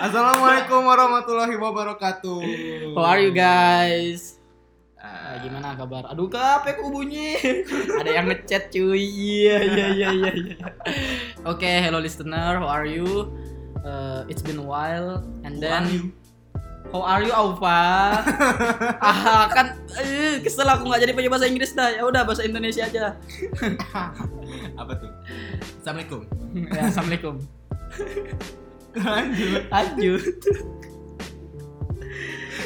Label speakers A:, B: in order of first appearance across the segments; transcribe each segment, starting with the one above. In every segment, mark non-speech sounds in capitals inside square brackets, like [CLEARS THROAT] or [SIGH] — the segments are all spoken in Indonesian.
A: Assalamualaikum warahmatullahi wabarakatuh.
B: How are you guys?
A: Ah,
B: Ah, gimana kabar? Aduh, kape ku bunyi. [LAUGHS] Ada yang ngechat cuy. Iya, iya, iya, iya. iya. Oke, hello listener, how are you? Uh, it's been a while and then
A: are you?
B: How are you, [LAUGHS] Alfa? ah, kan eh, kesel aku nggak jadi punya bahasa Inggris dah. Ya udah bahasa Indonesia aja.
A: Apa tuh? Assalamualaikum.
B: ya, Assalamualaikum.
A: Lanjut.
B: Lanjut.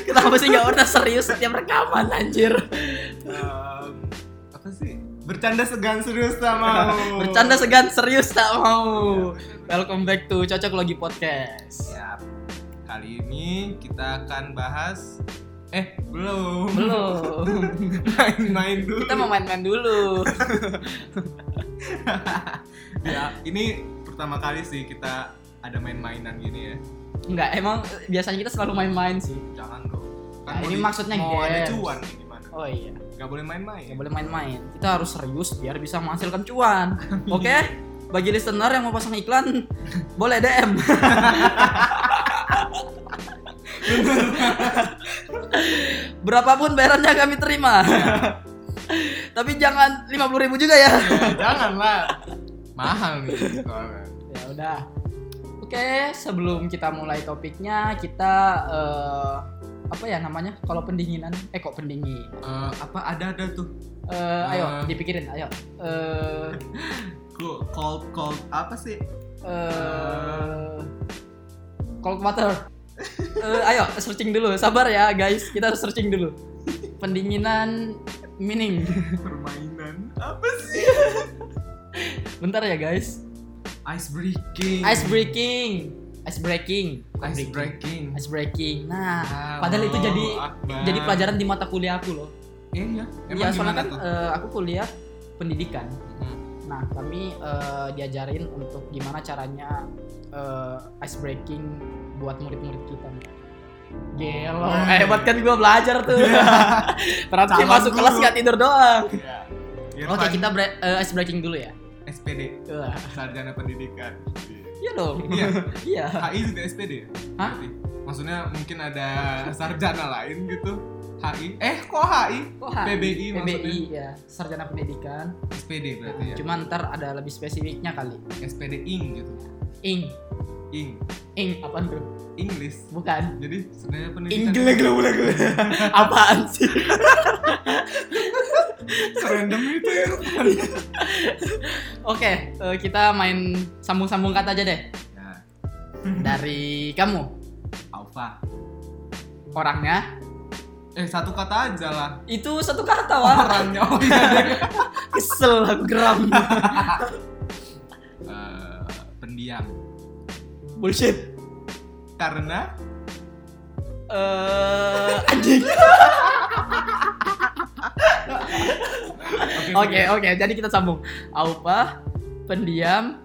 B: Kenapa sih nggak pernah serius setiap rekaman anjir?
A: Em, apa sih? Bercanda segan serius tak
B: [LAUGHS]
A: mau.
B: Bercanda segan serius tak mau. Ya. Welcome back to Cocok Logi Podcast.
A: Siap. Kali ini kita akan bahas eh belum.
B: Belum.
A: Main-main dulu.
B: Kita mau main-main dulu.
A: ya, ini pertama kali sih kita ada main-mainan gini ya.
B: Enggak, emang biasanya kita selalu main-main sih.
A: Jangan dong. Kan
B: Nah,
A: mau
B: ini
A: di-
B: maksudnya
A: mau ada
B: games.
A: cuan nih gimana?
B: Oh iya,
A: Gak boleh main-main.
B: nggak boleh main-main. Kita harus serius biar bisa menghasilkan cuan. Oke? Bagi listener yang mau pasang iklan, boleh DM. Berapapun bayarannya kami terima. Tapi jangan 50.000 ribu juga ya.
A: Janganlah. Mahal nih soalnya.
B: Ya udah. Oke, sebelum kita mulai topiknya, kita eh, apa ya namanya? Kalau pendinginan, eh kok pendingin?
A: Eh, apa ada ada tuh
B: Eh, ayo
A: Eh.
B: dipikirin, ayo. Eh
A: Cool, cold cold apa sih? [LAUGHS]
B: eh cold water. Eh, ayo searching dulu, sabar ya guys, kita harus searching dulu. Pendinginan mining.
A: Permainan apa sih?
B: Bentar ya guys.
A: Ice breaking.
B: Ice breaking. Ice breaking. bukan
A: Ice Ah, oh,
B: breaking.
A: breaking.
B: Ice breaking. Nah, padahal itu jadi jadi pelajaran di mata kuliah aku loh.
A: Iya, iya. Emang
B: ya soalnya
A: gimana
B: kan
A: tuh?
B: eh, aku kuliah pendidikan.
A: Hmm.
B: Nah kami eh, diajarin untuk gimana caranya eh, ice breaking buat murid-murid kita. Gelo,
A: Oh.
B: hebat kan gue belajar tuh. [LAUGHS] Berarti
A: Calon
B: masuk
A: Iya. guru.
B: kelas gak tidur doang.
A: Iya. Biar
B: [LAUGHS] Oke
A: fun.
B: kita bre- eh, ice breaking dulu ya.
A: SPD,
B: Wah,
A: sarjana
B: [LAUGHS]
A: pendidikan.
B: Iya dong.
A: Iya.
B: [LAUGHS] Iya.
A: HI juga SPD ya?
B: Hah?
A: Berarti. Maksudnya mungkin ada sarjana lain gitu. HI. Eh, kok HI?
B: Kok H?
A: PBI maksudnya.
B: PBI ya, sarjana pendidikan.
A: SPD berarti ya.
B: Cuman ntar ada lebih spesifiknya kali.
A: SPD ing gitu.
B: Ing,
A: Ing.
B: ing apaan tuh?
A: English.
B: Bukan. [LAUGHS]
A: Jadi sebenarnya pendidikan
B: Inggris gue boleh gue. Apaan sih?
A: serandom itu ya.
B: Oke, eh, kita main sambung-sambung kata aja deh.
A: Nah,
B: Dari kamu,
A: alpha.
B: orangnya
A: Eh satu kata aja lah.
B: itu satu kata [LAUGHS] wah.
A: Orangnya oh iya deh.
B: Kesel aku geram.
A: Eh, pendiam.
B: Bullshit.
A: Karena
B: Eh, anjing.
A: Oke.
B: Oke, oke. Jadi kita sambung. Alpha, pendiam,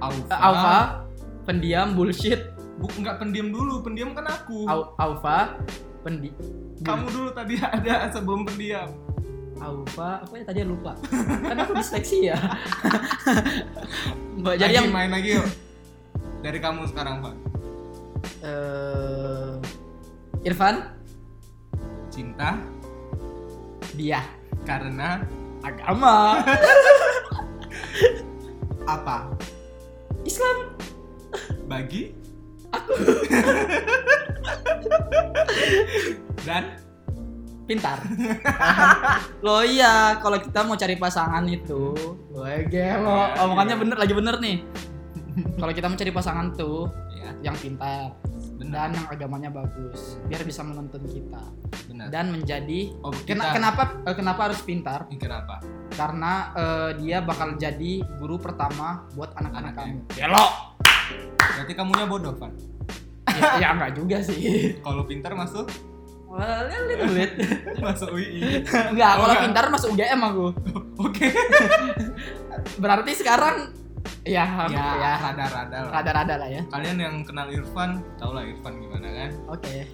A: Alpha.
B: eh, alpha, pendiam, bullshit,
A: Bu- enggak pendiam dulu, pendiam kan aku.
B: Au- alpha, pendi
A: Kamu dulu tadi [LAUGHS] ada sebelum pendiam.
B: Alpha, apa ya tadi lupa. Kan aku disleksia. [LAUGHS] Mbak, jadi
A: Lagi,
B: yang
A: main lagi yuk. Dari kamu sekarang, Pak.
B: eh Irfan
A: Cinta
B: dia
A: karena
B: agama
A: apa?
B: Islam
A: Bagi aku. [LAUGHS] Dan
B: pintar lo iya kalau kita mau cari pasangan itu gue gelo
A: Ya,
B: omongannya
A: iya.
B: bener lagi bener nih kalau kita mau cari pasangan tuh
A: ya,
B: yang pintar
A: benar.
B: dan yang agamanya bagus biar bisa menuntun kita
A: Benar.
B: dan menjadi
A: Oh,
B: Kena-
A: kita-
B: kenapa eh, kenapa harus pintar
A: Ini kenapa?
B: karena eh, dia bakal jadi guru pertama buat anak-anak kamu
A: Anaknya.
B: gelo
A: Berarti kamunya bodoh, Van.
B: ya, ya enggak juga sih
A: Kalau pintar masuk [LAUGHS]
B: Well, a little bit.
A: masuk
B: [LAUGHS]
A: UI.
B: Enggak,
A: Oh,
B: kalau
A: enggak.
B: pintar masuk UGM aku.
A: Oke.
B: Berarti sekarang ya ya,
A: Ya, rada-rada lah.
B: rada-rada lah ya.
A: Kalian yang kenal Irfan, tau lah Irfan gimana kan?
B: Oke.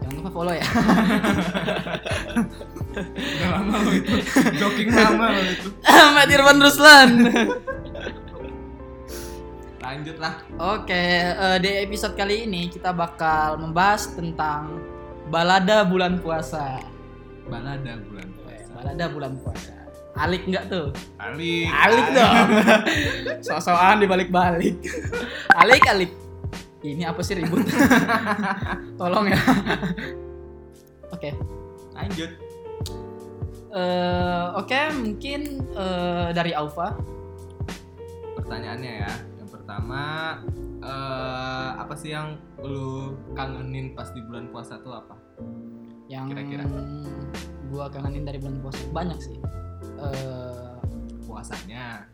B: Jangan lupa follow ya. [LAUGHS]
A: Udah lama lo itu. Joking lama lo itu.
B: Ahmad Irfan Ruslan.
A: lanjut lah
B: Oke, eh, di episode kali ini kita bakal membahas tentang balada bulan puasa.
A: balada bulan
B: Oke,
A: puasa
B: Balada bulan puasa. Alik nggak tuh?
A: alik
B: Alik dong. [LAUGHS] Sosokan [LAUGHS] dibalik-balik. Alik alik. Ini apa sih [LAUGHS] ribut? Tolong ya. [LAUGHS] Oke.
A: lanjut
B: Eh, Oke, mungkin eh, dari Alfa.
A: pertanyaannya ya yang pertama eh, apa sih yang lu kangenin pas di bulan puasa tuh apa
B: yang
A: Kira-kira.
B: gua kangenin dari bulan puasa banyak sih Eh,
A: puasanya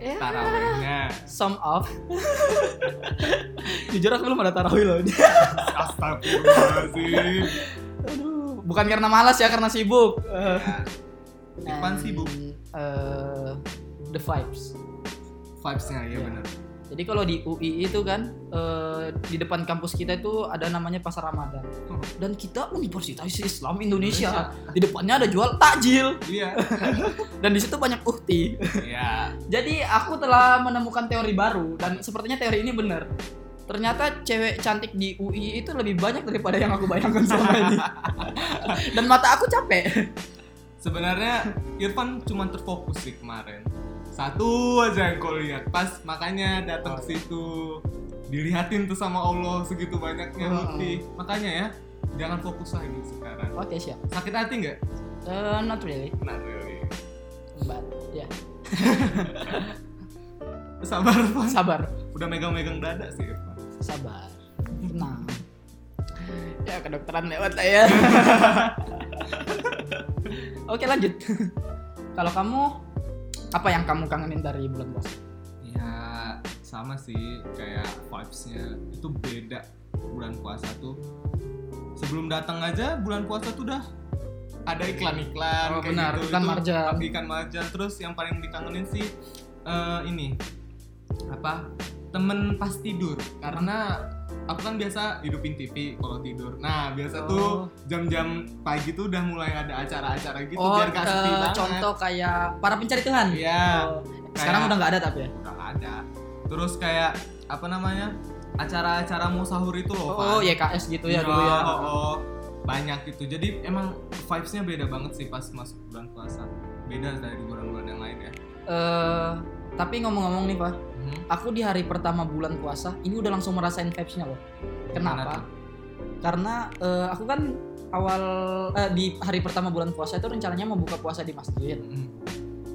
A: Eh?
B: ya,
A: tarawihnya
B: some of [LAUGHS] jujur aku belum ada tarawih loh [LAUGHS]
A: astagfirullahaladzim
B: Aduh, bukan karena malas ya karena sibuk Eh,
A: ya, Irfan
B: and,
A: sibuk.
B: eh, the vibes
A: vibesnya ya
B: Ya.
A: bener
B: jadi kalau di UI itu kan eh, di depan kampus kita itu ada namanya pasar Ramadan
A: Hmm.
B: dan kita Universitas Islam Indonesia di depannya ada jual takjil
A: iya
B: dan di situ banyak ukti
A: iya
B: Jadi aku telah menemukan teori baru dan sepertinya teori ini benar. Ternyata cewek cantik di UI itu lebih banyak daripada yang aku bayangkan selama [LAUGHS] ini. dan mata aku capek.
A: sebenarnya Irfan cuma terfokus sih kemarin satu aja yang kau lihat pas makanya datang ke situ dilihatin tuh sama Allah segitu banyaknya
B: Oh.
A: putih makanya ya jangan fokus lagi sekarang
B: Oke siap.
A: sakit hati nggak
B: Eh, not really,
A: nah really
B: but ya
A: sabar Irfan
B: sabar,
A: udah megang-megang dada sih Irfan
B: sabar, tenang. Ya kedokteran lewat lah ya. [LAUGHS] Oke lanjut. Kalau kamu apa yang kamu kangenin dari bulan puasa?
A: ya sama sih kayak vibesnya itu beda bulan puasa tuh sebelum datang aja bulan puasa tuh udah ada iklan-iklan
B: Oh,
A: kayak
B: benar,
A: gitu.
B: iklan
A: Itu
B: marjan.
A: ikan marjan terus yang paling dikangenin sih eh, ini apa temen pas tidur karena aku kan biasa hidupin TV kalau tidur nah biasa tuh
B: Oh.
A: jam-jam pagi tuh udah mulai ada acara-acara gitu
B: oh,
A: biar gak sepi
B: eh,
A: banget
B: contoh kayak para pencari Tuhan.
A: Iya.
B: Oh,
A: Kayak-
B: Sekarang udah nggak ada tapi ya.
A: udah nggak ada terus kayak apa namanya acara-acara mau sahur itu loh Pak.
B: Oh, YKS gitu ya dulu ya.
A: oh, oh. banyak itu jadi emang vibesnya beda banget sih pas masuk bulan puasa beda dari bulan-bulan yang lain ya
B: Eh, tapi ngomong-ngomong nih, Pak,
A: Mhm.
B: aku di hari pertama bulan puasa ini udah langsung merasain vibes-nya loh.
A: Gimana
B: Kenapa?
A: tuh?
B: Karena eh, aku kan awal eh, di hari pertama bulan puasa itu rencananya mau buka puasa di masjid.
A: Mhm.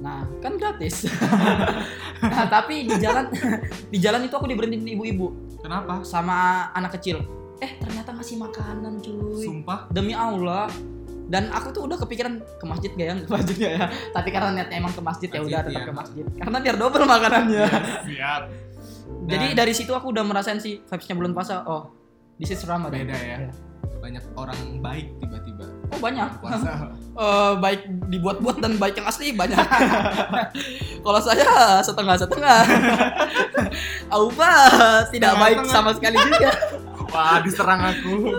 B: Nah, kan gratis. [LAUGHS] nah, tapi di jalan di jalan itu aku diberhentiin ibu-ibu
A: kenapa
B: sama anak kecil. Eh, ternyata ngasih makanan, cuy. [LAUGHS]
A: sumpah
B: demi Allah dan aku tuh udah kepikiran ke masjid gak ya ke masjid gak ya tapi karena niatnya emang ke masjid, ya
A: Masjid,
B: udah tetap
A: iya.
B: ke masjid karena biar double makanannya
A: siap
B: jadi
A: Dan-
B: dari situ aku udah merasain sih vibesnya bulan puasa oh di is Ramadan
A: beda ya banyak orang baik tiba-tiba
B: oh banyak
A: puasa
B: Eh, baik dibuat-buat dan baik yang asli banyak [LAUGHS] kalau saya setengah-setengah
A: [LAUGHS]
B: Aupa [LAUGHS] tidak baik
A: Setengah-setengah.
B: sama sekali juga
A: [LAUGHS] wah diserang aku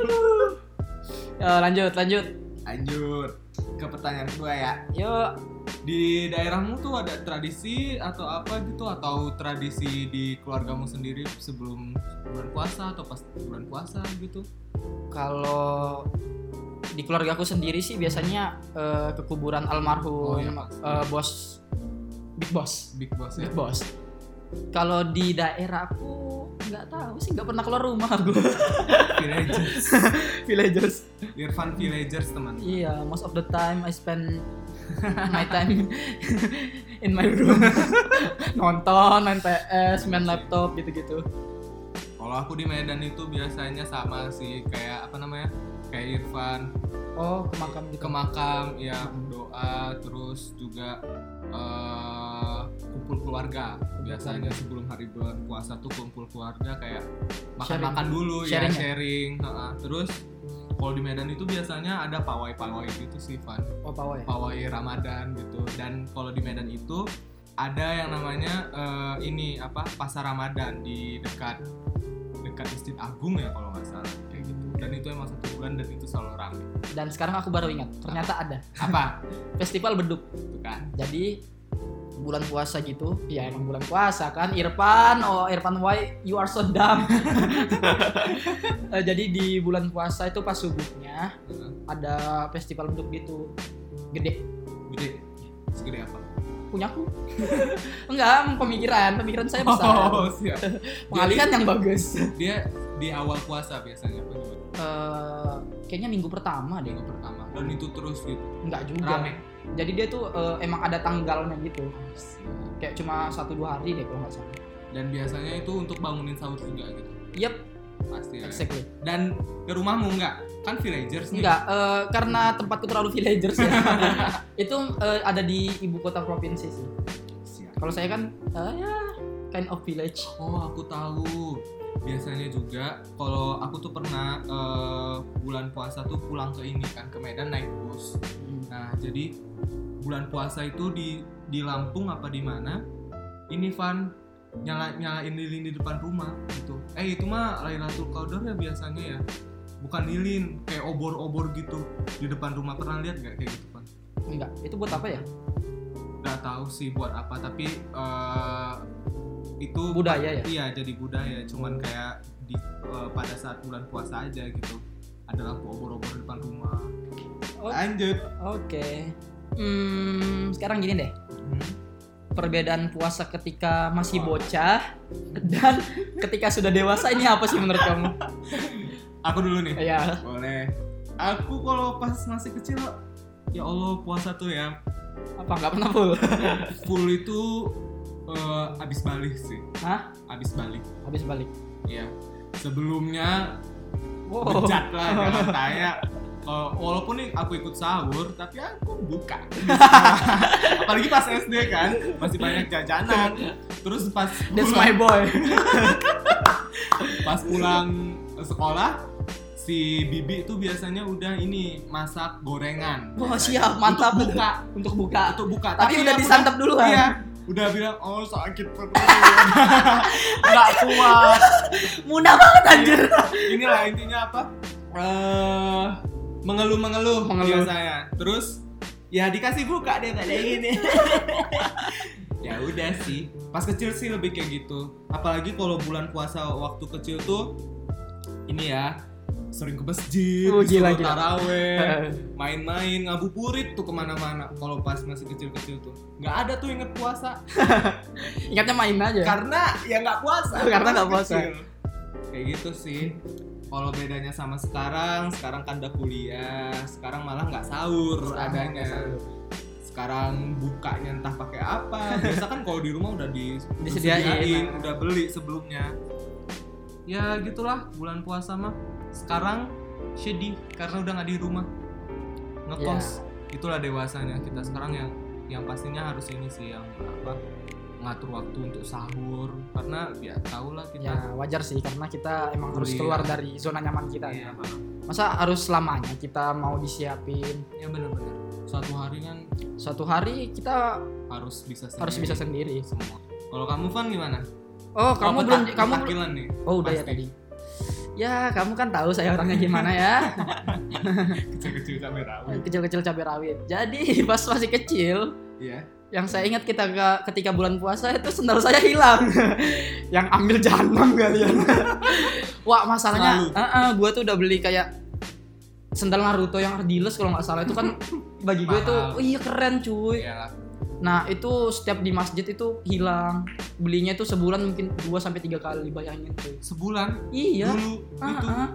B: Eh, lanjut lanjut
A: lanjut ke pertanyaan kedua ya
B: yuk
A: di daerahmu tuh ada tradisi atau apa gitu atau tradisi di keluargamu sendiri sebelum bulan puasa atau pas bulan puasa gitu
B: kalau di keluarga aku sendiri sih biasanya eh, ke kuburan
A: Oh,
B: almarhum
A: iya, Pak.
B: eh, bos big boss
A: big boss ya
B: [LAUGHS] big boss kalau di daerah aku nggak tahu sih nggak pernah keluar rumah aku
A: villagers
B: villagers
A: Irfan villagers teman
B: iya most of the time I spend [LAUGHS] my time [LAUGHS] in my room nonton main PS main laptop gitu-gitu
A: kalau aku di Medan itu biasanya sama sih kayak apa namanya kayak Irfan
B: oh ke makam gitu
A: ke makam ya doa terus juga eh, kumpul keluarga biasanya sebelum hari bulan puasa tuh kumpul keluarga kayak makan-makan dulu
B: Sharing
A: ya
B: ya?
A: sharing heeh. terus kalau di Medan itu biasanya ada pawai-pawai gitu sih Van
B: oh pawai
A: pawai Ramadan gitu dan kalau di Medan itu ada yang namanya eh, ini apa pasar Ramadan di dekat dekat Masjid Agung ya kalau nggak salah kayak gitu dan itu emang satu bulan dan itu selalu ramai
B: dan sekarang aku baru ingat ternyata ada
A: apa
B: festival beduk
A: itu kan
B: Jadi bulan puasa gitu ya emang bulan puasa kan Irfan oh Irfan why you are so dumb [LAUGHS] Eh, jadi di bulan puasa itu pas subuhnya ada festival beduk gitu gede
A: gede segede apa
B: punyaku [LAUGHS] enggak pemikiran pemikiran saya besar
A: [LAUGHS] oh
B: [LAUGHS]
A: siap
B: pengalihan yang bagus
A: dia di awal puasa biasanya apa gimana?
B: Eh, kayaknya minggu pertama deh
A: minggu pertama dan itu terus gitu
B: enggak juga
A: rame
B: jadi dia tuh eh, emang ada tanggalnya gitu kayak cuma satu dua hari deh kalau nggak salah
A: dan biasanya itu untuk bangunin sahur juga gitu
B: yep
A: pasti ya.
B: exactly
A: dan ke rumahmu enggak kan villagers nih
B: Enggak, eh, karena tempatku terlalu villagers
A: [LAUGHS]
B: ya. itu eh, ada di ibu kota provinsi sih.
A: Siap.
B: Kalau saya kan eh, ya kind of village.
A: Oh, aku tahu. Biasanya juga kalau aku tuh pernah eh, bulan puasa tuh pulang ke ini kan ke Medan naik bus. Nah, jadi bulan puasa itu di di Lampung apa di mana? Ini Van nyala nyalain lilin di depan rumah gitu. Eh, itu mah Lailatul Qadar ya biasanya ya. Bukan lilin, kayak obor-obor gitu di depan rumah. Pernah lihat nggak kayak gitu, Van?
B: Enggak, itu buat apa ya?
A: nggak tahu sih buat apa tapi eh, itu
B: Budaya ya?
A: iya jadi budaya cuman kayak di eh, pada saat bulan puasa aja gitu ada lampu obor-obor di depan rumah
B: Oh.
A: lanjut
B: Oke. Hmm, sekarang gini deh.
A: Hmm.
B: Perbedaan puasa ketika masih
A: Wah.
B: bocah dan ketika sudah dewasa ini apa sih menurut kamu?
A: aku dulu nih
B: Ya,
A: boleh aku kalau pas masih kecil ya Allah puasa tuh ya
B: apa nggak pernah full?
A: full itu eh, abis balik sih
B: Hah?
A: abis balik
B: Habis balik.
A: ya sebelumnya
B: Wow.
A: bejat
B: [LAUGHS]
A: lah jangan tanya Kalau- walaupun nih aku ikut sahur tapi aku
B: [LAUGHS]
A: buka apalagi pas SD kan masih banyak jajanan terus pas
B: That's
A: pulang,
B: my boy.
A: pas pulang sekolah si bibi itu biasanya udah ini masak gorengan
B: Wah,
A: Biasanya.
B: siap, mantap.
A: untuk buka
B: Untuk buka.
A: untuk buka
B: Tapi udah
A: aku
B: disantap dulu kan?
A: iya udah bilang oh sakit perut [LAUGHS] nggak kuat
B: Munah banget anjir.
A: Iya. inilah intinya apa eh mengeluh mengeluh
B: Mengeluh.
A: biasanya terus ya dikasih buka dia kayak
B: [LAUGHS]
A: gini ya udah sih pas kecil sih lebih kayak gitu apalagi kalau bulan puasa waktu kecil tuh ini ya sering ke masjid
B: Oh, gila,
A: disuruh
B: gila.
A: taraweh
B: [LAUGHS]
A: main-main ngabuburit tuh kemana-mana kalau pas masih kecil-kecil tuh nggak ada tuh inget puasa
B: Ingatnya main aja.
A: karena ya nggak puasa
B: [LAUGHS]
A: Iya.
B: Karena nggak puasa.
A: Kecil. kayak gitu sih kalau bedanya sama sekarang sekarang kan udah kuliah sekarang malah nggak sahur adanya sekarang bukanya entah pakai apa biasa kan kalau di rumah udah di-
B: Disediain. nah.
A: udah beli sebelumnya ya gitulah bulan puasa mah sekarang sedih karena udah nggak di rumah
B: Iya.
A: ngekos itulah dewasanya kita sekarang yang yang pastinya harus ini sih yang apa ngatur waktu untuk sahur karena ya tau lah kita
B: Ya wajar sih karena kita emang harus
A: Kuliah.
B: keluar dari zona nyaman kita.
A: ya,
B: Masa harus selamanya kita mau disiapin
A: ya benar-benar suatu hari kan
B: suatu hari kita
A: harus bisa sendiri.
B: harus bisa sendiri.
A: semua kalau kamu Van gimana
B: Oh kamu belum kamu belum-
A: takilan nih
B: oh udah ya
A: Pasti.
B: tadi. Ya kamu kan tahu saya orangnya gimana [LAUGHS] ya
A: kecil-kecil sampai rawit
B: kecil-kecil cabai rawit. Jadi [LAUGHS] pas masih kecil
A: iya
B: yang saya ingat kita ke- ketika bulan puasa itu sendal saya hilang [LAUGHS] yang ambil jahanam ya. kalian [LAUGHS] wah masalahnya
A: Selalu.
B: eh, eh, gua tuh udah beli kayak sendal Naruto yang Ardiles kalau nggak salah itu kan bagi gue tuh
A: Mahal.
B: iya keren cuy
A: Iyalah.
B: nah itu setiap di masjid itu hilang belinya itu sebulan mungkin 2 sampai tiga kali bayangin cuy
A: sebulan
B: iya
A: dulu
B: eh,
A: itu
B: eh.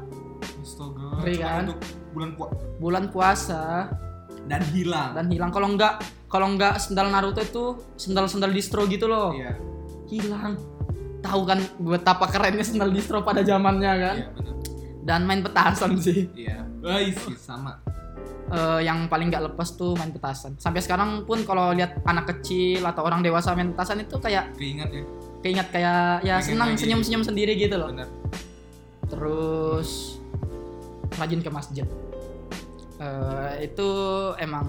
A: astaga
B: Ngeri
A: cuma
B: kan?
A: untuk bulan puasa
B: bulan puasa
A: dan hilang
B: dan hilang kalau nggak kalau nggak sendal Naruto itu sendal-sendal distro gitu loh
A: iya
B: hilang tahu kan betapa kerennya sendal distro pada zamannya kan
A: iya benar
B: dan main petasan sih
A: iya Wah, isi sama
B: Eh, yang paling nggak lepas tuh main petasan sampai sekarang pun kalau lihat anak kecil atau orang dewasa main petasan itu kayak
A: keingat ya
B: keingat kayak ya
A: Pengen
B: senang
A: lagi.
B: senyum senyum sendiri gitu loh
A: benar
B: terus rajin ke masjid Eh, itu emang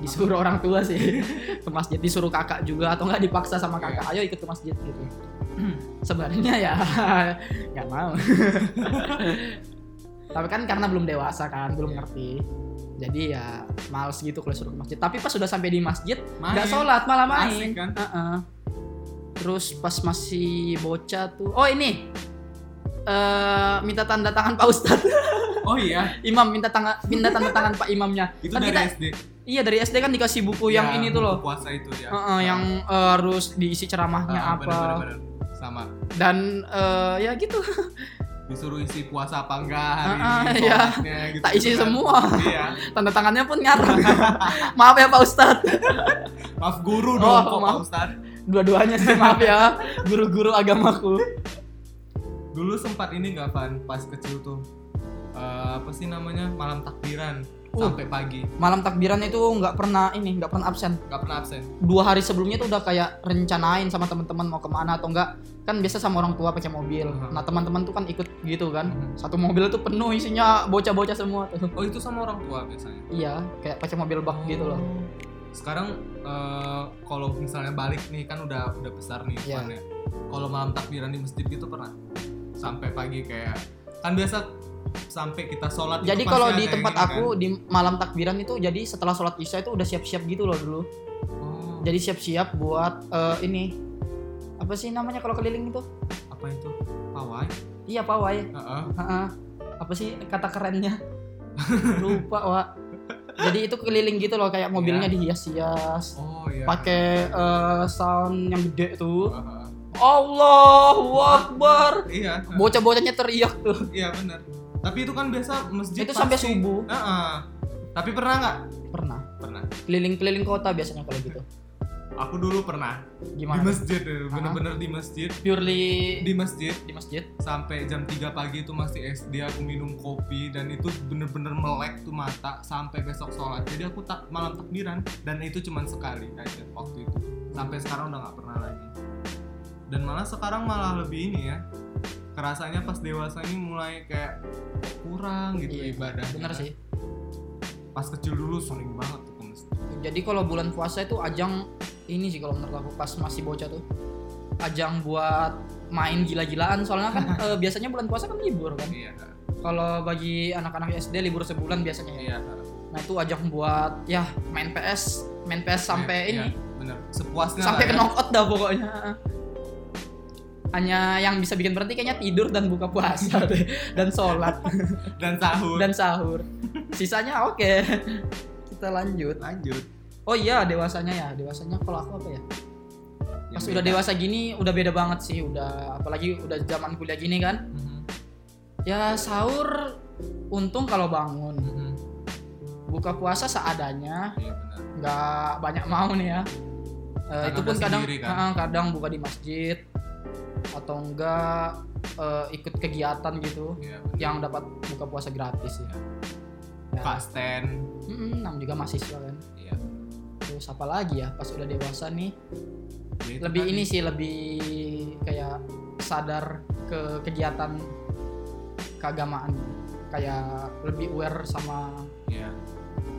B: disuruh orang tua sih ke masjid disuruh kakak juga atau nggak dipaksa sama kakak ayo ikut ke masjid gitu [CLEARS THROAT] [LAUGHS] sebenarnya ya nggak mau Tapi kan karena belum dewasa kan, belum ngerti. Jadi ya males gitu kalau suruh ke masjid. Tapi pas sudah sampai di masjid,
A: Main.
B: nggak sholat malah
A: Asik
B: main.
A: kan?
B: Heeh. Terus pas masih bocah tuh, oh ini eh minta tanda tangan Pak Ustadz [LAUGHS]
A: Oh iya,
B: Imam minta tanda minta tanda tangan Pak Imamnya.
A: itu
B: Kan
A: dari
B: kita-
A: SD.
B: Iya dari SD kan dikasih buku yang ini tuh loh.
A: buku Puasa itu ya.
B: Heeh, yang eh, harus diisi ceramahnya
A: Ah,
B: apa
A: bener-bener, bener. Sama.
B: dan eh, ya gitu [LAUGHS]
A: Disuruh isi puasa apa enggak hari
B: Ah, ah,
A: ini
B: iya.
A: sholatnya, gitu.
B: Tak isi
A: kan.
B: semua.
A: Iya.
B: tanda tangannya pun ngarang [LAUGHS] maaf ya Pak Ustadz
A: Maaf guru
B: Oh,
A: dong kok Pak
B: maaf.
A: Ustadz.
B: dua-duanya sih maaf ya
A: [LAUGHS]
B: guru-guru agamaku
A: Dulu sempat ini nggak Van pas kecil tuh. Eh, apa sih namanya malam takbiran
B: Uh.
A: sampai pagi
B: malam takbiran itu nggak pernah ini nggak pernah absen
A: nggak pernah absen
B: dua hari sebelumnya tuh udah kayak rencanain sama teman-teman mau kemana atau enggak kan biasa sama orang tua pakai mobil
A: Mhm.
B: nah teman-teman tuh kan ikut gitu kan
A: Mhm.
B: satu mobil tuh penuh isinya bocah-bocah semua tuh [LAUGHS]
A: oh itu sama orang tua biasanya Oh.
B: iya kayak pakai mobil bak gitu loh
A: sekarang eh, kalau misalnya balik nih kan udah udah besar nih
B: Iya.
A: Van, ya. kalau malam takbiran di masjid gitu pernah sampai pagi kayak kan biasa sampai kita sholat itu
B: Jadi
A: pasti
B: kalau
A: ada
B: di
A: yang
B: tempat
A: ini kan.
B: aku di malam takbiran itu jadi setelah sholat isya itu udah siap-siap gitu loh dulu.
A: Oh,
B: Jadi siap-siap buat eh, ini apa sih namanya kalau keliling itu?
A: apa itu pawai
B: Iya pawai.
A: Heeh.
B: Heeh. Apa sih kata kerennya? Lupa wa. Jadi itu keliling gitu loh kayak mobilnya dihias-hias.
A: oh iya
B: Pakai eh, sound yang gede tuh.
A: Heeh.
B: Allahu Akbar.
A: iya heeh.
B: Bocah-bocahnya teriak tuh.
A: iya benar tapi itu kan biasa masjid
B: Itu sampai
A: pasti-
B: subuh.
A: Heeh. tapi pernah nggak
B: Pernah.
A: pernah
B: Keliling-keliling kota biasanya kalau gitu.
A: aku dulu pernah di
B: Gimana?
A: masjid bener-bener di masjid
B: Purely
A: di masjid
B: di masjid.
A: sampai jam 3 pagi itu masih SD aku minum kopi dan itu bener-bener melek tuh mata sampai besok sholat jadi aku tak malam takbiran dan itu cuman sekali aja waktu itu sampai sekarang udah nggak pernah lagi dan malah sekarang malah lebih ini ya kerasanya pas dewasa ini mulai kayak kurang gitu
B: Iya,
A: ibadah
B: Bener sih.
A: pas kecil dulu sering banget tuh ke masjid
B: Jadi kalau bulan puasa itu ajang ini sih kalau menurut aku pas masih bocah tuh ajang buat main gila-gilaan soalnya [LAUGHS] kan eh, biasanya bulan puasa kan libur kan.
A: iya
B: Kalau bagi anak-anak SD libur sebulan biasanya ya.
A: iya
B: Nah itu ajang buat ya main PS, main PS sampai
A: Iya,
B: ini
A: bener sepuasnya lah
B: sampai ke
A: ya.
B: knockout dah pokoknya. Hanya yang bisa bikin berhenti kayaknya tidur dan buka
A: [LAUGHS]
B: puasa deh. dan sholat
A: dan sahur
B: dan sahur. Sisanya oke. Kita lanjut.
A: lanjut
B: Oh iya dewasanya ya, dewasanya kalau aku apa ya?
A: Yang
B: pas udah
A: Ya, beda.
B: dewasa gini udah beda banget sih udah apalagi udah zaman kuliah gini kan
A: Mhm,
B: ya sahur untung kalau bangun
A: mhm.
B: buka puasa seadanya
A: iya bener
B: nggak banyak mau nih ya Eh,
A: Karena
B: itu pun
A: udah
B: kadang
A: sendiri kan?
B: eh, kadang buka di masjid atau enggak eh, ikut kegiatan gitu
A: iya bener.
B: yang dapat buka puasa gratis ya, ya.
A: Kasten
B: mm-mm, nam juga mahasiswa kan
A: Iya.
B: terus apa lagi ya pas udah dewasa nih
A: Ya, itu
B: lebih
A: tadi.
B: ini sih lebih kayak sadar ke kegiatan keagamaan kayak lebih aware sama
A: Iya.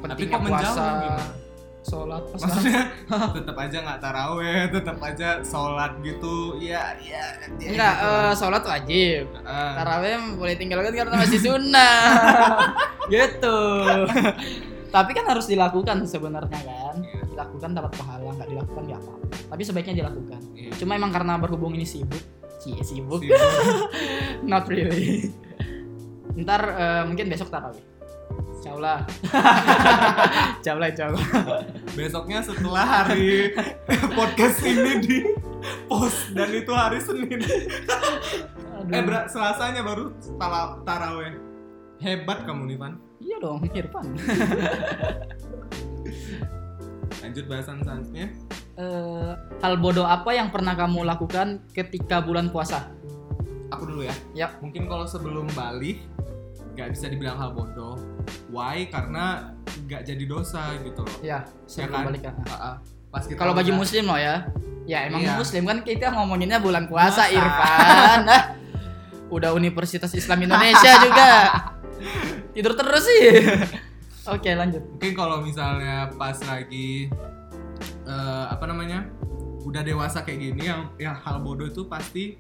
A: Tapi
B: pentingnya
A: kok menjauh
B: puasa
A: gimana?
B: sholat pas
A: Maksudnya [LAUGHS] tetap aja nggak taraweh, tetap aja sholat gitu. Iya, iya. iya,
B: enggak
A: gitu. Ah,
B: eh, sholat wajib
A: Heeh.
B: taraweh boleh tinggalkan karena masih
A: [LAUGHS]
B: sunnah gitu tapi kan harus dilakukan sebenarnya kan
A: Iya.
B: dilakukan dapat pahala nggak dilakukan ya apa tapi sebaiknya dilakukan
A: Iya.
B: cuma emang karena berhubung ini sibuk Cie, sibuk
A: Sibuk.
B: [LAUGHS] Not really. Ntar eh, mungkin besok tarawih. Insya
A: [LAUGHS]
B: Allah. Insya Allah, insya
A: Eh,
B: Allah.
A: Besoknya setelah hari [LAUGHS] podcast ini di post dan itu hari Senin.
B: Aduh.
A: Eh, berat Selasanya baru tala- taraweh. Hebat kamu nih, Van.
B: Iya dong, Irfan.
A: Lanjut bahasan selanjutnya.
B: Eh, hal bodoh apa yang pernah kamu lakukan ketika bulan puasa?
A: aku dulu ya.
B: Yap.
A: Mungkin kalau sebelum balik nggak bisa dibilang hal bodoh. Why? Karena nggak jadi dosa gitu loh.
B: Ya,
A: Ya
B: saya
A: kan?
B: kembali ke-
A: Ah, ah. Pas kita
B: Kalau bagi
A: udah-
B: muslim loh ya. Ya emang
A: Iya.
B: muslim kan kita ngomonginnya bulan puasa,
A: Puasa.
B: Irfan. Ah, udah Universitas Islam Indonesia juga.
A: [LAUGHS]
B: Tidur terus sih. Oke, lanjut.
A: mungkin kalau misalnya pas lagi eh, apa namanya udah dewasa kayak gini yang ya hal bodoh itu pasti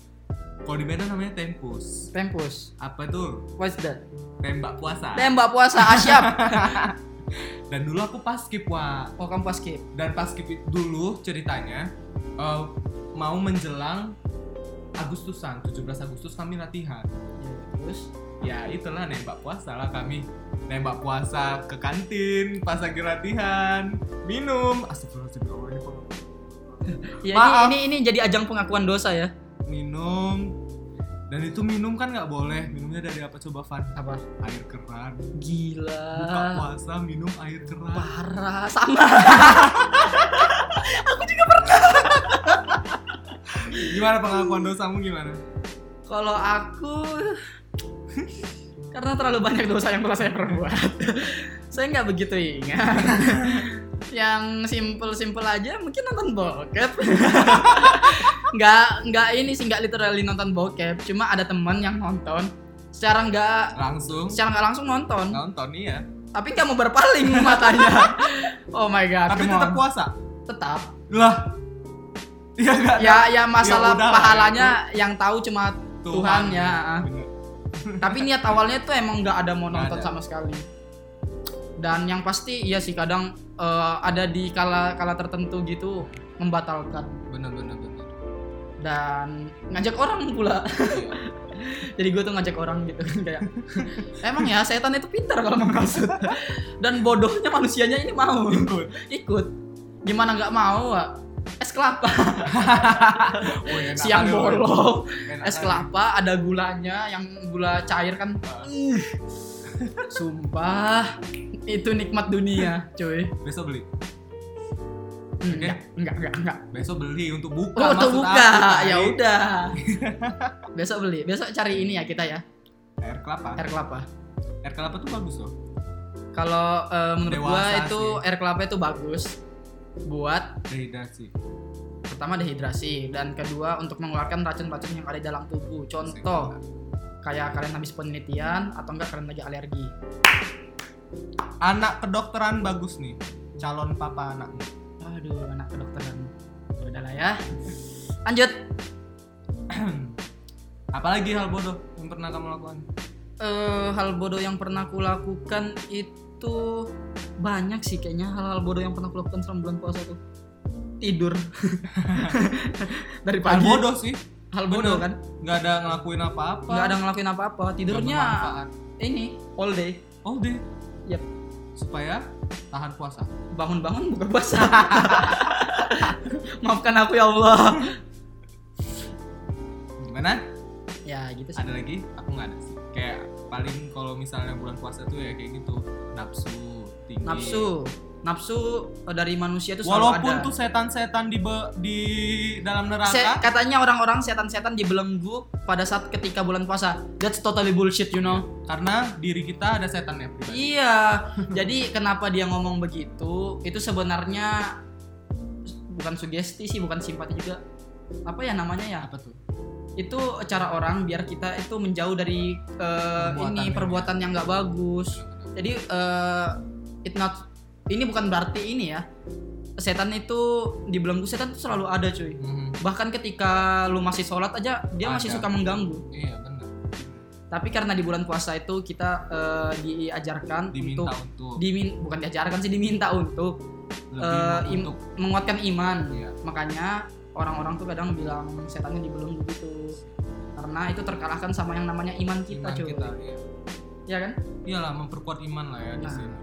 A: Kalau di Medan namanya tempus.
B: Tempus.
A: Apa tuh?
B: What's that?
A: Tembak puasa.
B: Tembak puasa asyap.
A: Dan dulu aku paskip, Wak.
B: Oh kamu pas skip.
A: dan pas kipit dulu ceritanya eh, mau menjelang Agustusan 17 Agustus kami latihan
B: Ya, terus
A: ya itulah nembak puasa lah kami nembak puasa ke kantin pas lagi latihan minum astagfirullahaladzim
B: Ya,
A: Maaf.
B: ini, ini ini jadi ajang pengakuan dosa ya.
A: minum dan itu minum kan nggak boleh minumnya dari apa coba Van
B: Apa?
A: air keran buka
B: Gila.
A: puasa minum air keran
B: Parah sama.
A: gimana pengakuan dosamu gimana
B: Kalau aku [LAUGHS] karena terlalu banyak dosa yang telah saya perbuat. [LAUGHS] saya nggak begitu
A: [LAUGHS]
B: ingat. yang simple-simple aja mungkin nonton bokep. [LAUGHS] nggak nggak ini sih nggak literally nonton bokep, cuma ada teman yang nonton secara nggak
A: langsung
B: secara nggak langsung nonton,
A: nonton iya
B: tapi nggak mau berpaling [LAUGHS] matanya. oh my god,
A: tapi
B: come
A: tetap
B: on.
A: puasa
B: tetap
A: lah iya nggak
B: ya ya
A: udah
B: masalah
A: lah, ya.
B: pahalanya yang tahu cuma
A: Tuhan.
B: Tuhan, ya ah.
A: Bener.
B: tapi niat awalnya tuh emang nggak ada mau
A: Nggak
B: nonton
A: ada.
B: sama sekali dan yang pasti iya sih kadang eh, ada di kala kala tertentu gitu membatalkan
A: bener bener bener
B: dan ngajak orang pula
A: Iya.
B: [LAUGHS] jadi gue tuh ngajak orang gitu kayak [LAUGHS] emang ya setan itu pintar kalau mau maksud [LAUGHS] dan bodohnya manusianya ini mau ikut ikut gimana nggak mau Wak? es kelapa
A: Woi, enak
B: siang
A: kali, woi.
B: bolong
A: Enak
B: es
A: kali.
B: kelapa ada gulanya yang gula cair kan Ih, sumpah itu nikmat dunia cuy Hmm,
A: besok beli
B: enggak enggak enggak enggak
A: besok beli untuk buka
B: oh tuh
A: maksud
B: buka
A: aku, tai.
B: ya udah [LAUGHS] besok beli besok cari ini ya kita ya
A: air kelapa
B: air kelapa
A: air kelapa tuh bagus loh
B: kalau eh, menurut gua
A: Dewasa
B: itu
A: sih.
B: air kelapa itu bagus buat
A: dehidrasi
B: pertama dehidrasi dan kedua untuk mengeluarkan racun-racun yang ada di dalam tubuh contoh kayak kalian habis penelitian atau enggak kalian lagi alergi
A: anak kedokteran bagus nih calon papa anakmu
B: Aduh, anak kedokteran. Udah lah ya. Lanjut.
A: apalagi hal bodoh yang pernah kamu lakukan
B: Eh, hal bodoh yang pernah aku lakukan itu banyak sih kayaknya hal-hal bodoh yang pernah aku lakukan selama bulan puasa tuh.
A: [LAUGHS]
B: Tidur. Dari
A: hal
B: pagi.
A: bodoh sih
B: Hal bodoh
A: Bener.
B: kan?
A: nggak ada ngelakuin apa-apa
B: Nggak ada ngelakuin apa-apa.
A: Nggak
B: Tidurnya
A: bermanfaat.
B: ini all day.
A: oh deh
B: Yap.
A: supaya tahan puasa
B: Bangun-bangun buka
A: [LAUGHS]
B: puasa. Maafkan aku ya Allah.
A: gimana
B: Ya gitu sih.
A: ada lagi aku nggak ada sih kayak paling kalau misalnya bulan puasa tuh ya kayak gitu nafsu tinggi
B: Nafsu. Nafsu eh, dari manusia itu selalu ada.
A: walaupun tuh setan-setan di be- di dalam
B: Se-
A: neraka
B: katanya orang-orang setan-setan dibelenggu pada saat ketika bulan puasa. That's totally bullshit, you know.
A: karena diri kita ada setannya pribadi
B: Iya. [LAUGHS] Jadi kenapa dia ngomong begitu? Itu sebenarnya bukan sugesti sih, bukan simpati juga. Apa ya namanya ya?
A: apa tuh
B: Itu cara orang biar kita itu menjauh dari eh,
A: Perbuatan
B: ini
A: yang-
B: perbuatan yang nggak bagus. Jadi eh it not ini bukan berarti ini ya. Setan itu dibelenggu setan itu selalu ada, cuy.
A: Mhm.
B: bahkan ketika lu masih sholat aja dia masih
A: Ada.
B: suka mengganggu
A: iya benar
B: tapi karena di bulan puasa itu kita eh, diajarkan
A: diminta
B: untuk
A: untuk,
B: dimin bukan diajarkan sih diminta untuk
A: lebih
B: eh, im-
A: untuk
B: menguatkan iman
A: iya.
B: makanya orang-orang tuh kadang bilang setannya dibelenggu gitu karena itu terkalahkan sama yang namanya iman kita
A: iman
B: cuy
A: kita Nah. iya.
B: ya kan
A: iyalah memperkuat iman lah ya di
B: Nah.
A: sini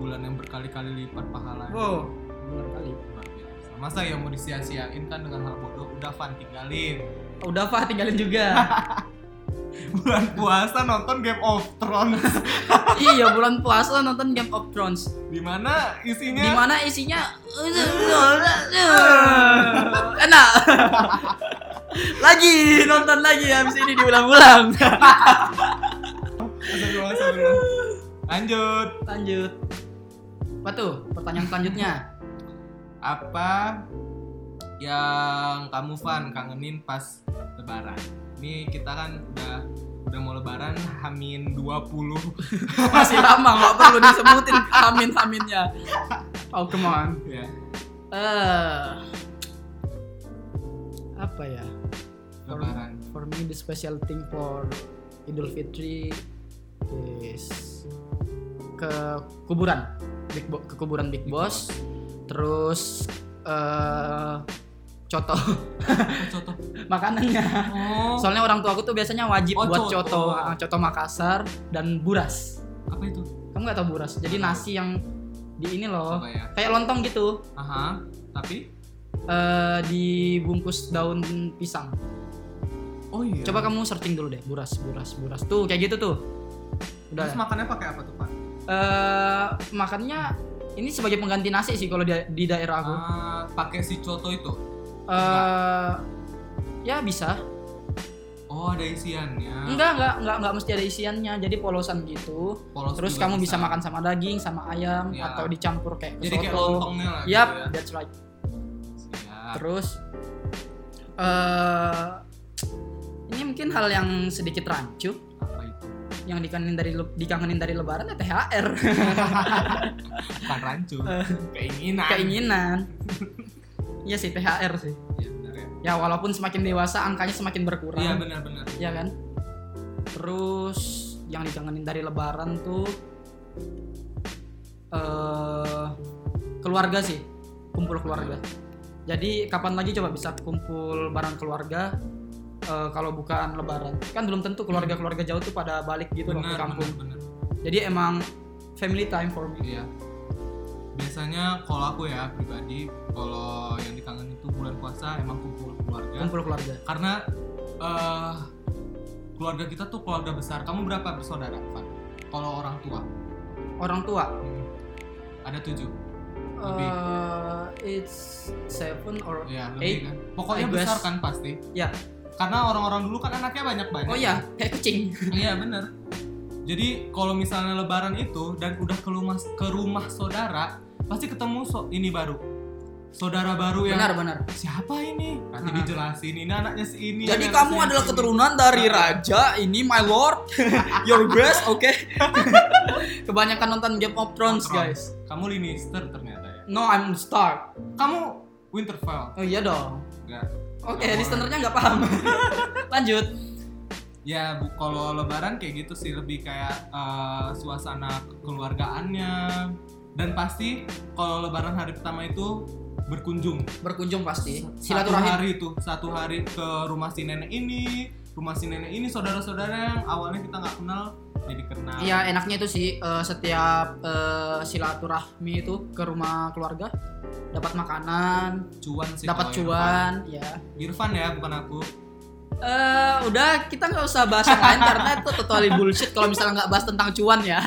A: bulan yang berkali-kali lipat pahala
B: wow bener kali
A: Luar biasa. masa ya mau disia-siain kan dengan hal bodoh udah fan tinggalin
B: Oh, udah Fah tinggalin juga [LAUGHS]
A: bulan puasa nonton Game of Thrones
B: iya bulan puasa nonton Game of Thrones
A: dimana isinya
B: dimana isinya enak lagi nonton lagi habis ini diulang-ulang
A: Astagfirullah, astagfirullah. lanjut
B: lanjut apa tuh pertanyaan selanjutnya
A: apa yang kamu fan kangenin pas lebaran ini kita kan udah udah mau lebaran hamin 20
B: masih lama nggak perlu disebutin amin aminnya oh come on
A: ya
B: eh apa ya for,
A: Lebaran.
B: for me the special thing for Idul Fitri is ke kuburan Big Bo- ke kuburan Big
A: Big
B: Boss terus eh coto
A: Oh, contoh
B: makanannya
A: oh
B: soalnya orang tua aku tuh biasanya wajib
A: Oh,
B: buat coto
A: coto.
B: Ah, coto Makassar dan buras
A: apa itu
B: kamu nggak tahu buras jadi nasi yang di ini loh
A: apa ya
B: kayak lontong gitu
A: aha tapi
B: eh dibungkus daun pisang
A: oh iya
B: Coba kamu searching dulu deh, buras, buras, buras. Tuh kayak gitu tuh. Udah.
A: terus makannya pakai apa tuh pak
B: Eh, makannya ini sebagai pengganti nasi sih kalau di, di daerah aku.
A: Ah, pakai si coto itu
B: Eh, ya bisa.
A: oh ada isiannya
B: Enggak, enggak, enggak, enggak mesti ada isiannya. Jadi polosan gitu.
A: Polos
B: Terus
A: juga
B: kamu bisa makan sama daging, sama ayam
A: Ya.
B: atau dicampur kayak
A: jadi kayak
B: soto.
A: lontongnya lah
B: Yap,
A: gitu ya.
B: that's right.
A: Siap.
B: Terus eh ini mungkin hal yang sedikit rancu.
A: apa itu
B: yang dikangenin dari le- dikangenin dari lebaran ya THR
A: bukan rancu keinginan
B: Eh, keinginan [LAUGHS] iya sih THR sih
A: iya benar ya
B: ya walaupun semakin dewasa angkanya semakin berkurang
A: iya
B: Iya
A: benar-benar
B: kan terus yang dikangenin dari lebaran tuh eh keluarga sih kumpul keluarga jadi kapan lagi coba bisa kumpul bareng keluarga eh, kalau bukan lebaran kan belum tentu keluarga keluarga jauh tuh pada balik gitu loh ke
A: benar
B: kampung
A: benar benar
B: jadi emang family time for me
A: Iya. Biasanya kalau aku ya pribadi, kalau yang dikangen itu bulan puasa emang kumpul keluarga.
B: kumpul keluarga
A: Karena eh keluarga kita tuh keluarga besar. Kamu berapa bersaudara, Van? Kalau orang tua?
B: orang tua
A: Hmm. Ada tujuh. Lebih.
B: eh it's seven or
A: Ya, lebih
B: Eight.
A: kan. Pokoknya
B: Eh, I guess.
A: besar kan pasti.
B: Ya.
A: Karena orang-orang dulu kan anaknya banyak-banyak.
B: oh ya kayak kucing
A: [LAUGHS] Iya, bener. Jadi kalau misalnya lebaran itu dan udah ke rumah ke rumah saudara, pasti ketemu so- ini baru. Saudara baru yang
B: benar benar
A: siapa ini? Nanti
B: Ah.
A: dijelasin ini anaknya si ini.
B: jadi
A: anaknya
B: kamu
A: si
B: adalah
A: ini.
B: keturunan
A: Iya,
B: dari
A: kan.
B: raja ini my
A: [LAUGHS]
B: lord your grace oke [LAUGHS] kebanyakan nonton Game of
A: Thrones.
B: Thrones guys
A: Kamu Lannister ternyata ya.
B: no I'm the Stark
A: Kamu Winterfell.
B: oh iya dong
A: Enggak.
B: oke
A: Nggak boleh.
B: listenernya nggak paham [LAUGHS] lanjut
A: Ya, bu, kalau lebaran kayak gitu sih lebih kayak eh, suasana kekeluargaannya dan pasti kalau lebaran hari pertama itu berkunjung
B: berkunjung
A: Iya,
B: pasti
A: satu
B: silaturahim
A: hari itu satu hari ke rumah si nenek ini rumah si nenek ini saudara-saudara yang awalnya kita nggak kenal jadi kenal
B: Iya enaknya itu sih eh, setiap eh, silaturahmi itu ke rumah keluarga dapat makanan,
A: cuan sih
B: dapat
A: kalau
B: cuan, ya.
A: Irfan. Irfan ya bukan aku
B: Eh udah kita nggak usah bahas yang lain karena itu totally bullshit kalau misalnya nggak bahas tentang cuan ya.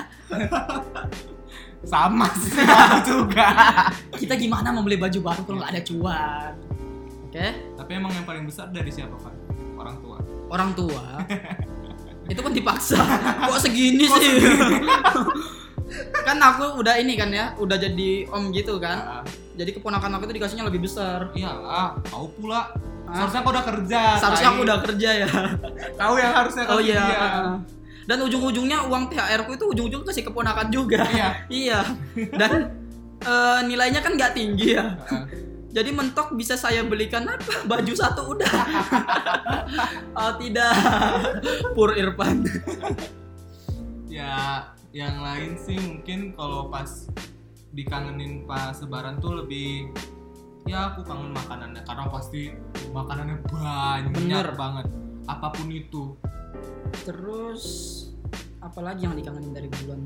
A: sama [LAUGHS] sih aku juga
B: Kita gimana mau beli baju baru kalau nggak ada cuan? Oke,
A: Tapi emang yang paling besar dari siapa kan? Orang tua.
B: orang tua itu pun dipaksa. Kok segini
A: Kok
B: sih? kan aku udah ini kan ya, udah jadi om gitu kan.
A: Ah,
B: Jadi keponakan aku itu dikasihnya lebih besar.
A: iyalah, kau Iya, pula.
B: Ah.
A: Seharusnya kau udah kerja.
B: Seharusnya
A: tai.
B: aku udah kerja ya.
A: Kau yang harusnya
B: Oh
A: kasih
B: iya.
A: dia.
B: heeh. Dan ujung-ujungnya uang THR ku itu ujung-ujung kasih keponakan juga.
A: Iya.
B: [LAUGHS] iya. Dan eh, nilainya kan nggak tinggi ya.
A: Heeh.
B: Jadi mentok bisa saya belikan apa? Baju satu [LAUGHS] udah. oh tidak. Pur Irfan.
A: ya, yang lain sih mungkin kalau pas dikangenin pas lebaran tuh lebih ya aku kangen makanannya karena pasti makanannya banyak
B: Bener.
A: banget apapun itu
B: Terus apalagi yang dikangenin dari bulan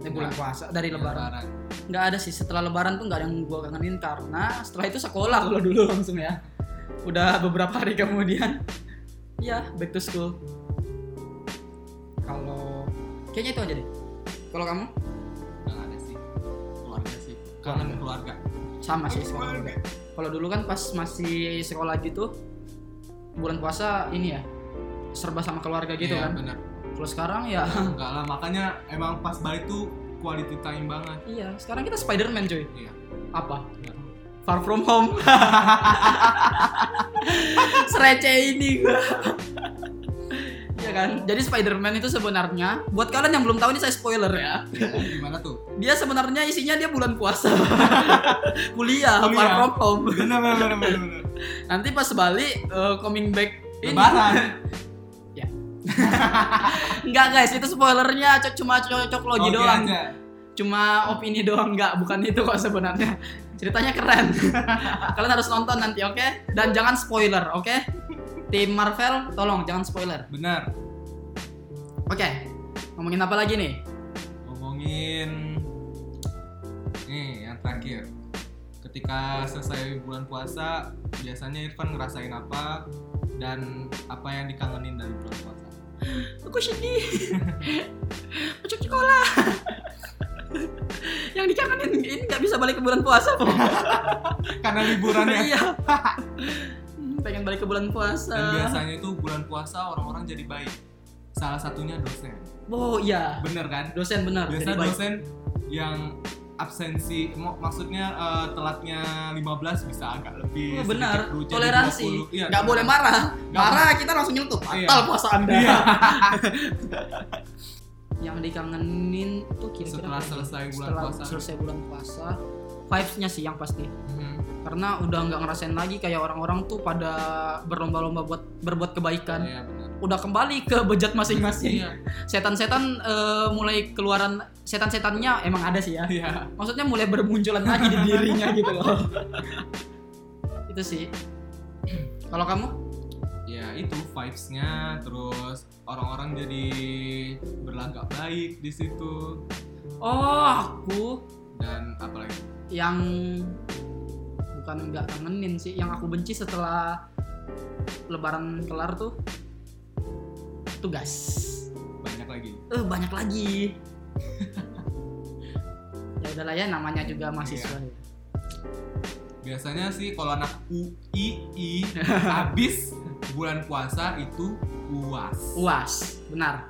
B: eh, bulan puasa
A: ya
B: dari
A: iya,
B: lebaran nggak ada sih setelah lebaran tuh nggak ada yang gua kangenin karena setelah itu sekolah kalau dulu langsung ya udah beberapa hari kemudian ya back to school kalau kayaknya itu aja deh kalau kamu
A: nggak ada sih keluarga sih kangen keluarga
B: sama sih sekolah juga. kalau dulu kan pas masih sekolah gitu bulan puasa ini ya serba sama keluarga gitu
A: Iya,
B: kan
A: bener. [CLEARS THROAT]
B: kalau sekarang ya [LAUGHS]
A: enggak lah makanya emang pas balik tuh quality time
B: [LAUGHS]
A: banget
B: iya sekarang kita Spiderman cuy
A: Iya.
B: apa Far from home. [LAUGHS] Serece ini [LAUGHS] gua. ya kan? Jadi Spider-Man itu sebenarnya buat kalian yang belum tahu ini saya spoiler ya.
A: Ya, gimana tuh [LAUGHS]
B: Dia sebenarnya isinya dia bulan puasa. [LAUGHS] Kuliah, far
A: Kuliah.
B: from home.
A: bener bener bener bener
B: Nanti pas balik eh, coming back Ini. [LAUGHS]
A: Lebaran.
B: Enggak Ya. guys, itu spoilernya co- cuma cocok logi
A: Oke
B: doang.
A: aja.
B: Cuma opini doang enggak, bukan itu kok sebenarnya. Ceritanya
A: [LAUGHS]
B: keren. Kalian harus nonton nanti, oke? Dan jangan spoiler, oke? Tim Marvel, tolong jangan spoiler.
A: Benar.
B: Oke. Ngomongin apa lagi nih?
A: Ngomongin nih yang terakhir. Ketika selesai bulan puasa, biasanya Irfan ngerasain apa dan apa yang dikangenin dari bulan puasa? [LAUGHS]
B: Aku sedih. Pucuk sekolah. Yang dikangenin ini nggak bisa balik ke bulan puasa, Po.
A: Karena liburannya.
B: [LAUGHS] Iya. Hmm, Pengen balik ke
A: Dan
B: bulan puasa.
A: biasanya itu bulan puasa orang-orang jadi baik. Salah satunya dosen.
B: Oh iya.
A: Bener kan?
B: Dosen benar.
A: Biasa
B: jadi baik.
A: dosen yang absensi mo- maksudnya eh, telatnya 15 bisa agak lebih
B: Oh,
A: sedikit
B: benar,
A: dulu, jadi
B: toleransi.
A: 20. Iya,
B: Nggak boleh marah.
A: Nggak
B: Marah kita langsung nyelutup.
A: Iya.
B: Batal puasa Anda.
A: Iya. [LAUGHS]
B: Yang dikangenin tuh kira-kira
A: Setelah
B: apa ya?
A: selesai bulan
B: Setelah
A: puasa.
B: selesai bulan puasa, vibes-nya siang pasti.
A: Mhm.
B: Karena udah nggak ngerasain lagi kayak orang-orang tuh pada berlomba-lomba buat berbuat kebaikan.
A: Iya, benar.
B: Udah kembali ke bejat masing-masing.
A: Iya.
B: Setan-setan eh, mulai keluaran setan-setannya emang ada sih ya.
A: Iya.
B: maksudnya mulai bermunculan lagi di dirinya gitu
A: [LAUGHS]
B: loh itu sih kalau kamu
A: Ya itu vibes-nya terus orang-orang jadi berlagak baik di situ
B: oh aku
A: dan apalagi
B: yang bukan nggak kangenin sih yang aku benci setelah lebaran kelar tuh tugas
A: banyak lagi.
B: eh banyak lagi [LAUGHS] ya udahlah ya namanya juga mahasiswa
A: Iya. Biasanya sih kalau anak
B: [LAUGHS]
A: UII habis bulan puasa itu UAS.
B: uas benar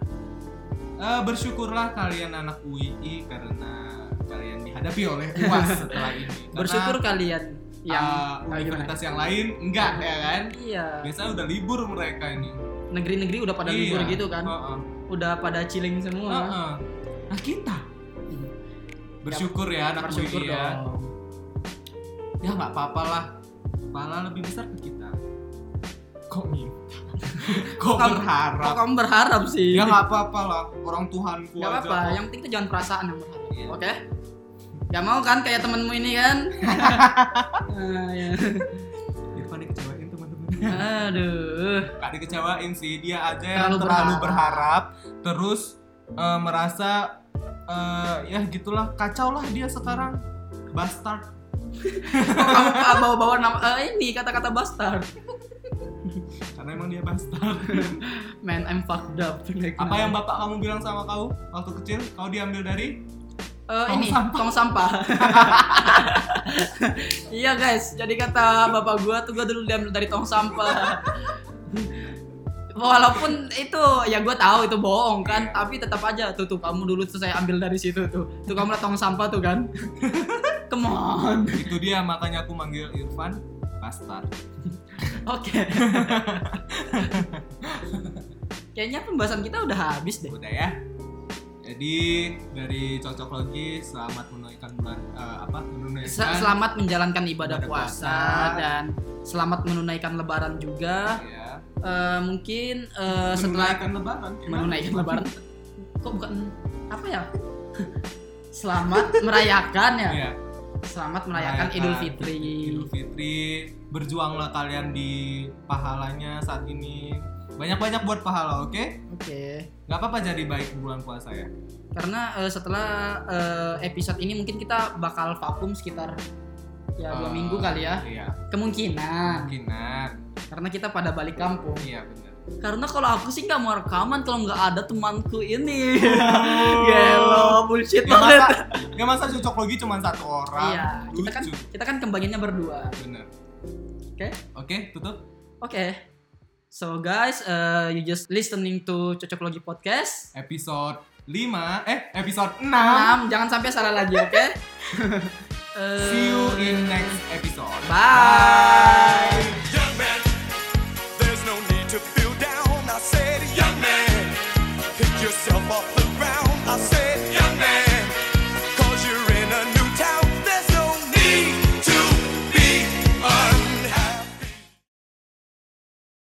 A: Eh, bersyukurlah kalian anak UII karena kalian dihadapi oleh
B: [LAUGHS]
A: UAS setelah ini. Karena,
B: bersyukur kalian
A: eh,
B: yang Ah, gimana?
A: universitas yang lain enggak ya kan?
B: iya
A: Biasanya udah libur mereka ini.
B: negeri-negeri udah pada
A: Iya.
B: libur gitu kan Iya.
A: Heeh.
B: udah pada chilling semua.
A: Heeh. Nah kita bersyukur ya anak
B: Bersyukur
A: UII ya.
B: dong.
A: Ya nggak apa-apa lah. Pahala lebih besar ke kita. Kok
B: [LAUGHS]
A: minta? Kok
B: kamu- Kok
A: berharap?
B: kamu berharap sih?
A: Ya nggak apa-apa lah. Orang Tuhanku
B: Nggak
A: aja
B: apa-apa,
A: kok.
B: yang penting tuh jangan perasaan yang berharap.
A: Iya.
B: Oke? Gak mau kan kayak temenmu ini
A: [LAUGHS]
B: kan? Ah, ya.
A: Irfan dikecewain teman-teman.
B: Aduh.
A: Gak dikecewain sih dia aja yang
B: Terlalu
A: terlalu
B: berharap.
A: berharap, terus eh, merasa eh, ya gitulah kacau lah dia sekarang bastard
B: Kok kamu ah, bawa-bawa nama eh, ini kata-kata bastard.
A: karena emang dia
B: [LAUGHS]
A: bastard.
B: Man, I'm fucked up.
A: Apa yang bapak kamu bilang sama kau waktu kecil? Kau diambil dari?
B: Eh,
A: Tong
B: ini
A: sampah.
B: tong sampah. [LAUGHS] iya guys, jadi kata bapak gua tuh gua dulu diambil dari tong sampah. [LAUGHS] Walaupun itu ya gua tahu itu bohong
A: Iya.
B: kan, tapi tetap aja tuh tuh kamu dulu tuh saya ambil dari situ tuh. Tuh kamu liat tong sampah tuh kan. [LAUGHS] Come on.
A: Itu dia makanya aku manggil Irfan bastard.
B: Oke. [LAUGHS] Kayaknya pembahasan kita udah habis deh.
A: Udah ya. Jadi dari cocok logi selamat menunaikan bulan eh, apa menunaikan
B: Se- Selamat menjalankan ibadah
A: Ibadah
B: puasa
A: puasa.
B: dan selamat menunaikan lebaran juga.
A: ya.
B: Eh, mungkin eh, setelah
A: menunaikan lebaran. ya. gimana?
B: menunaikan lebaran kok bukan apa ya [LAUGHS] selamat merayakan ya
A: Iya.
B: selamat merayakan Idul Fitri
A: Idul Fitri berjuanglah kalian di pahalanya saat ini banyak-banyak buat pahala oke
B: oke
A: nggak apa-apa jadi baik di bulan puasa ya
B: karena eh, setelah eh, episode ini mungkin kita bakal vakum sekitar ya dua
A: Eh,
B: minggu kali ya
A: iya
B: kemungkinan
A: kemungkinan
B: karena kita pada balik kampung
A: iya benar
B: karena kalau aku sih nggak mau rekaman kalau nggak ada temanku ini
A: Oh.
B: [LAUGHS] gelo bullshit
A: ya
B: banget
A: masa ya masa cocok logi cuma satu orang
B: iya kita kan
A: lucu
B: kita kan kembanginnya berdua
A: bener
B: Oke.
A: oke tutup
B: Okay. So guys, uh, you just listening to Cocok Logi Podcast.
A: episode 5 eh episode 6
B: 6, jangan sampai salah lagi, oke? Eh,
A: see you in next episode
B: Bye.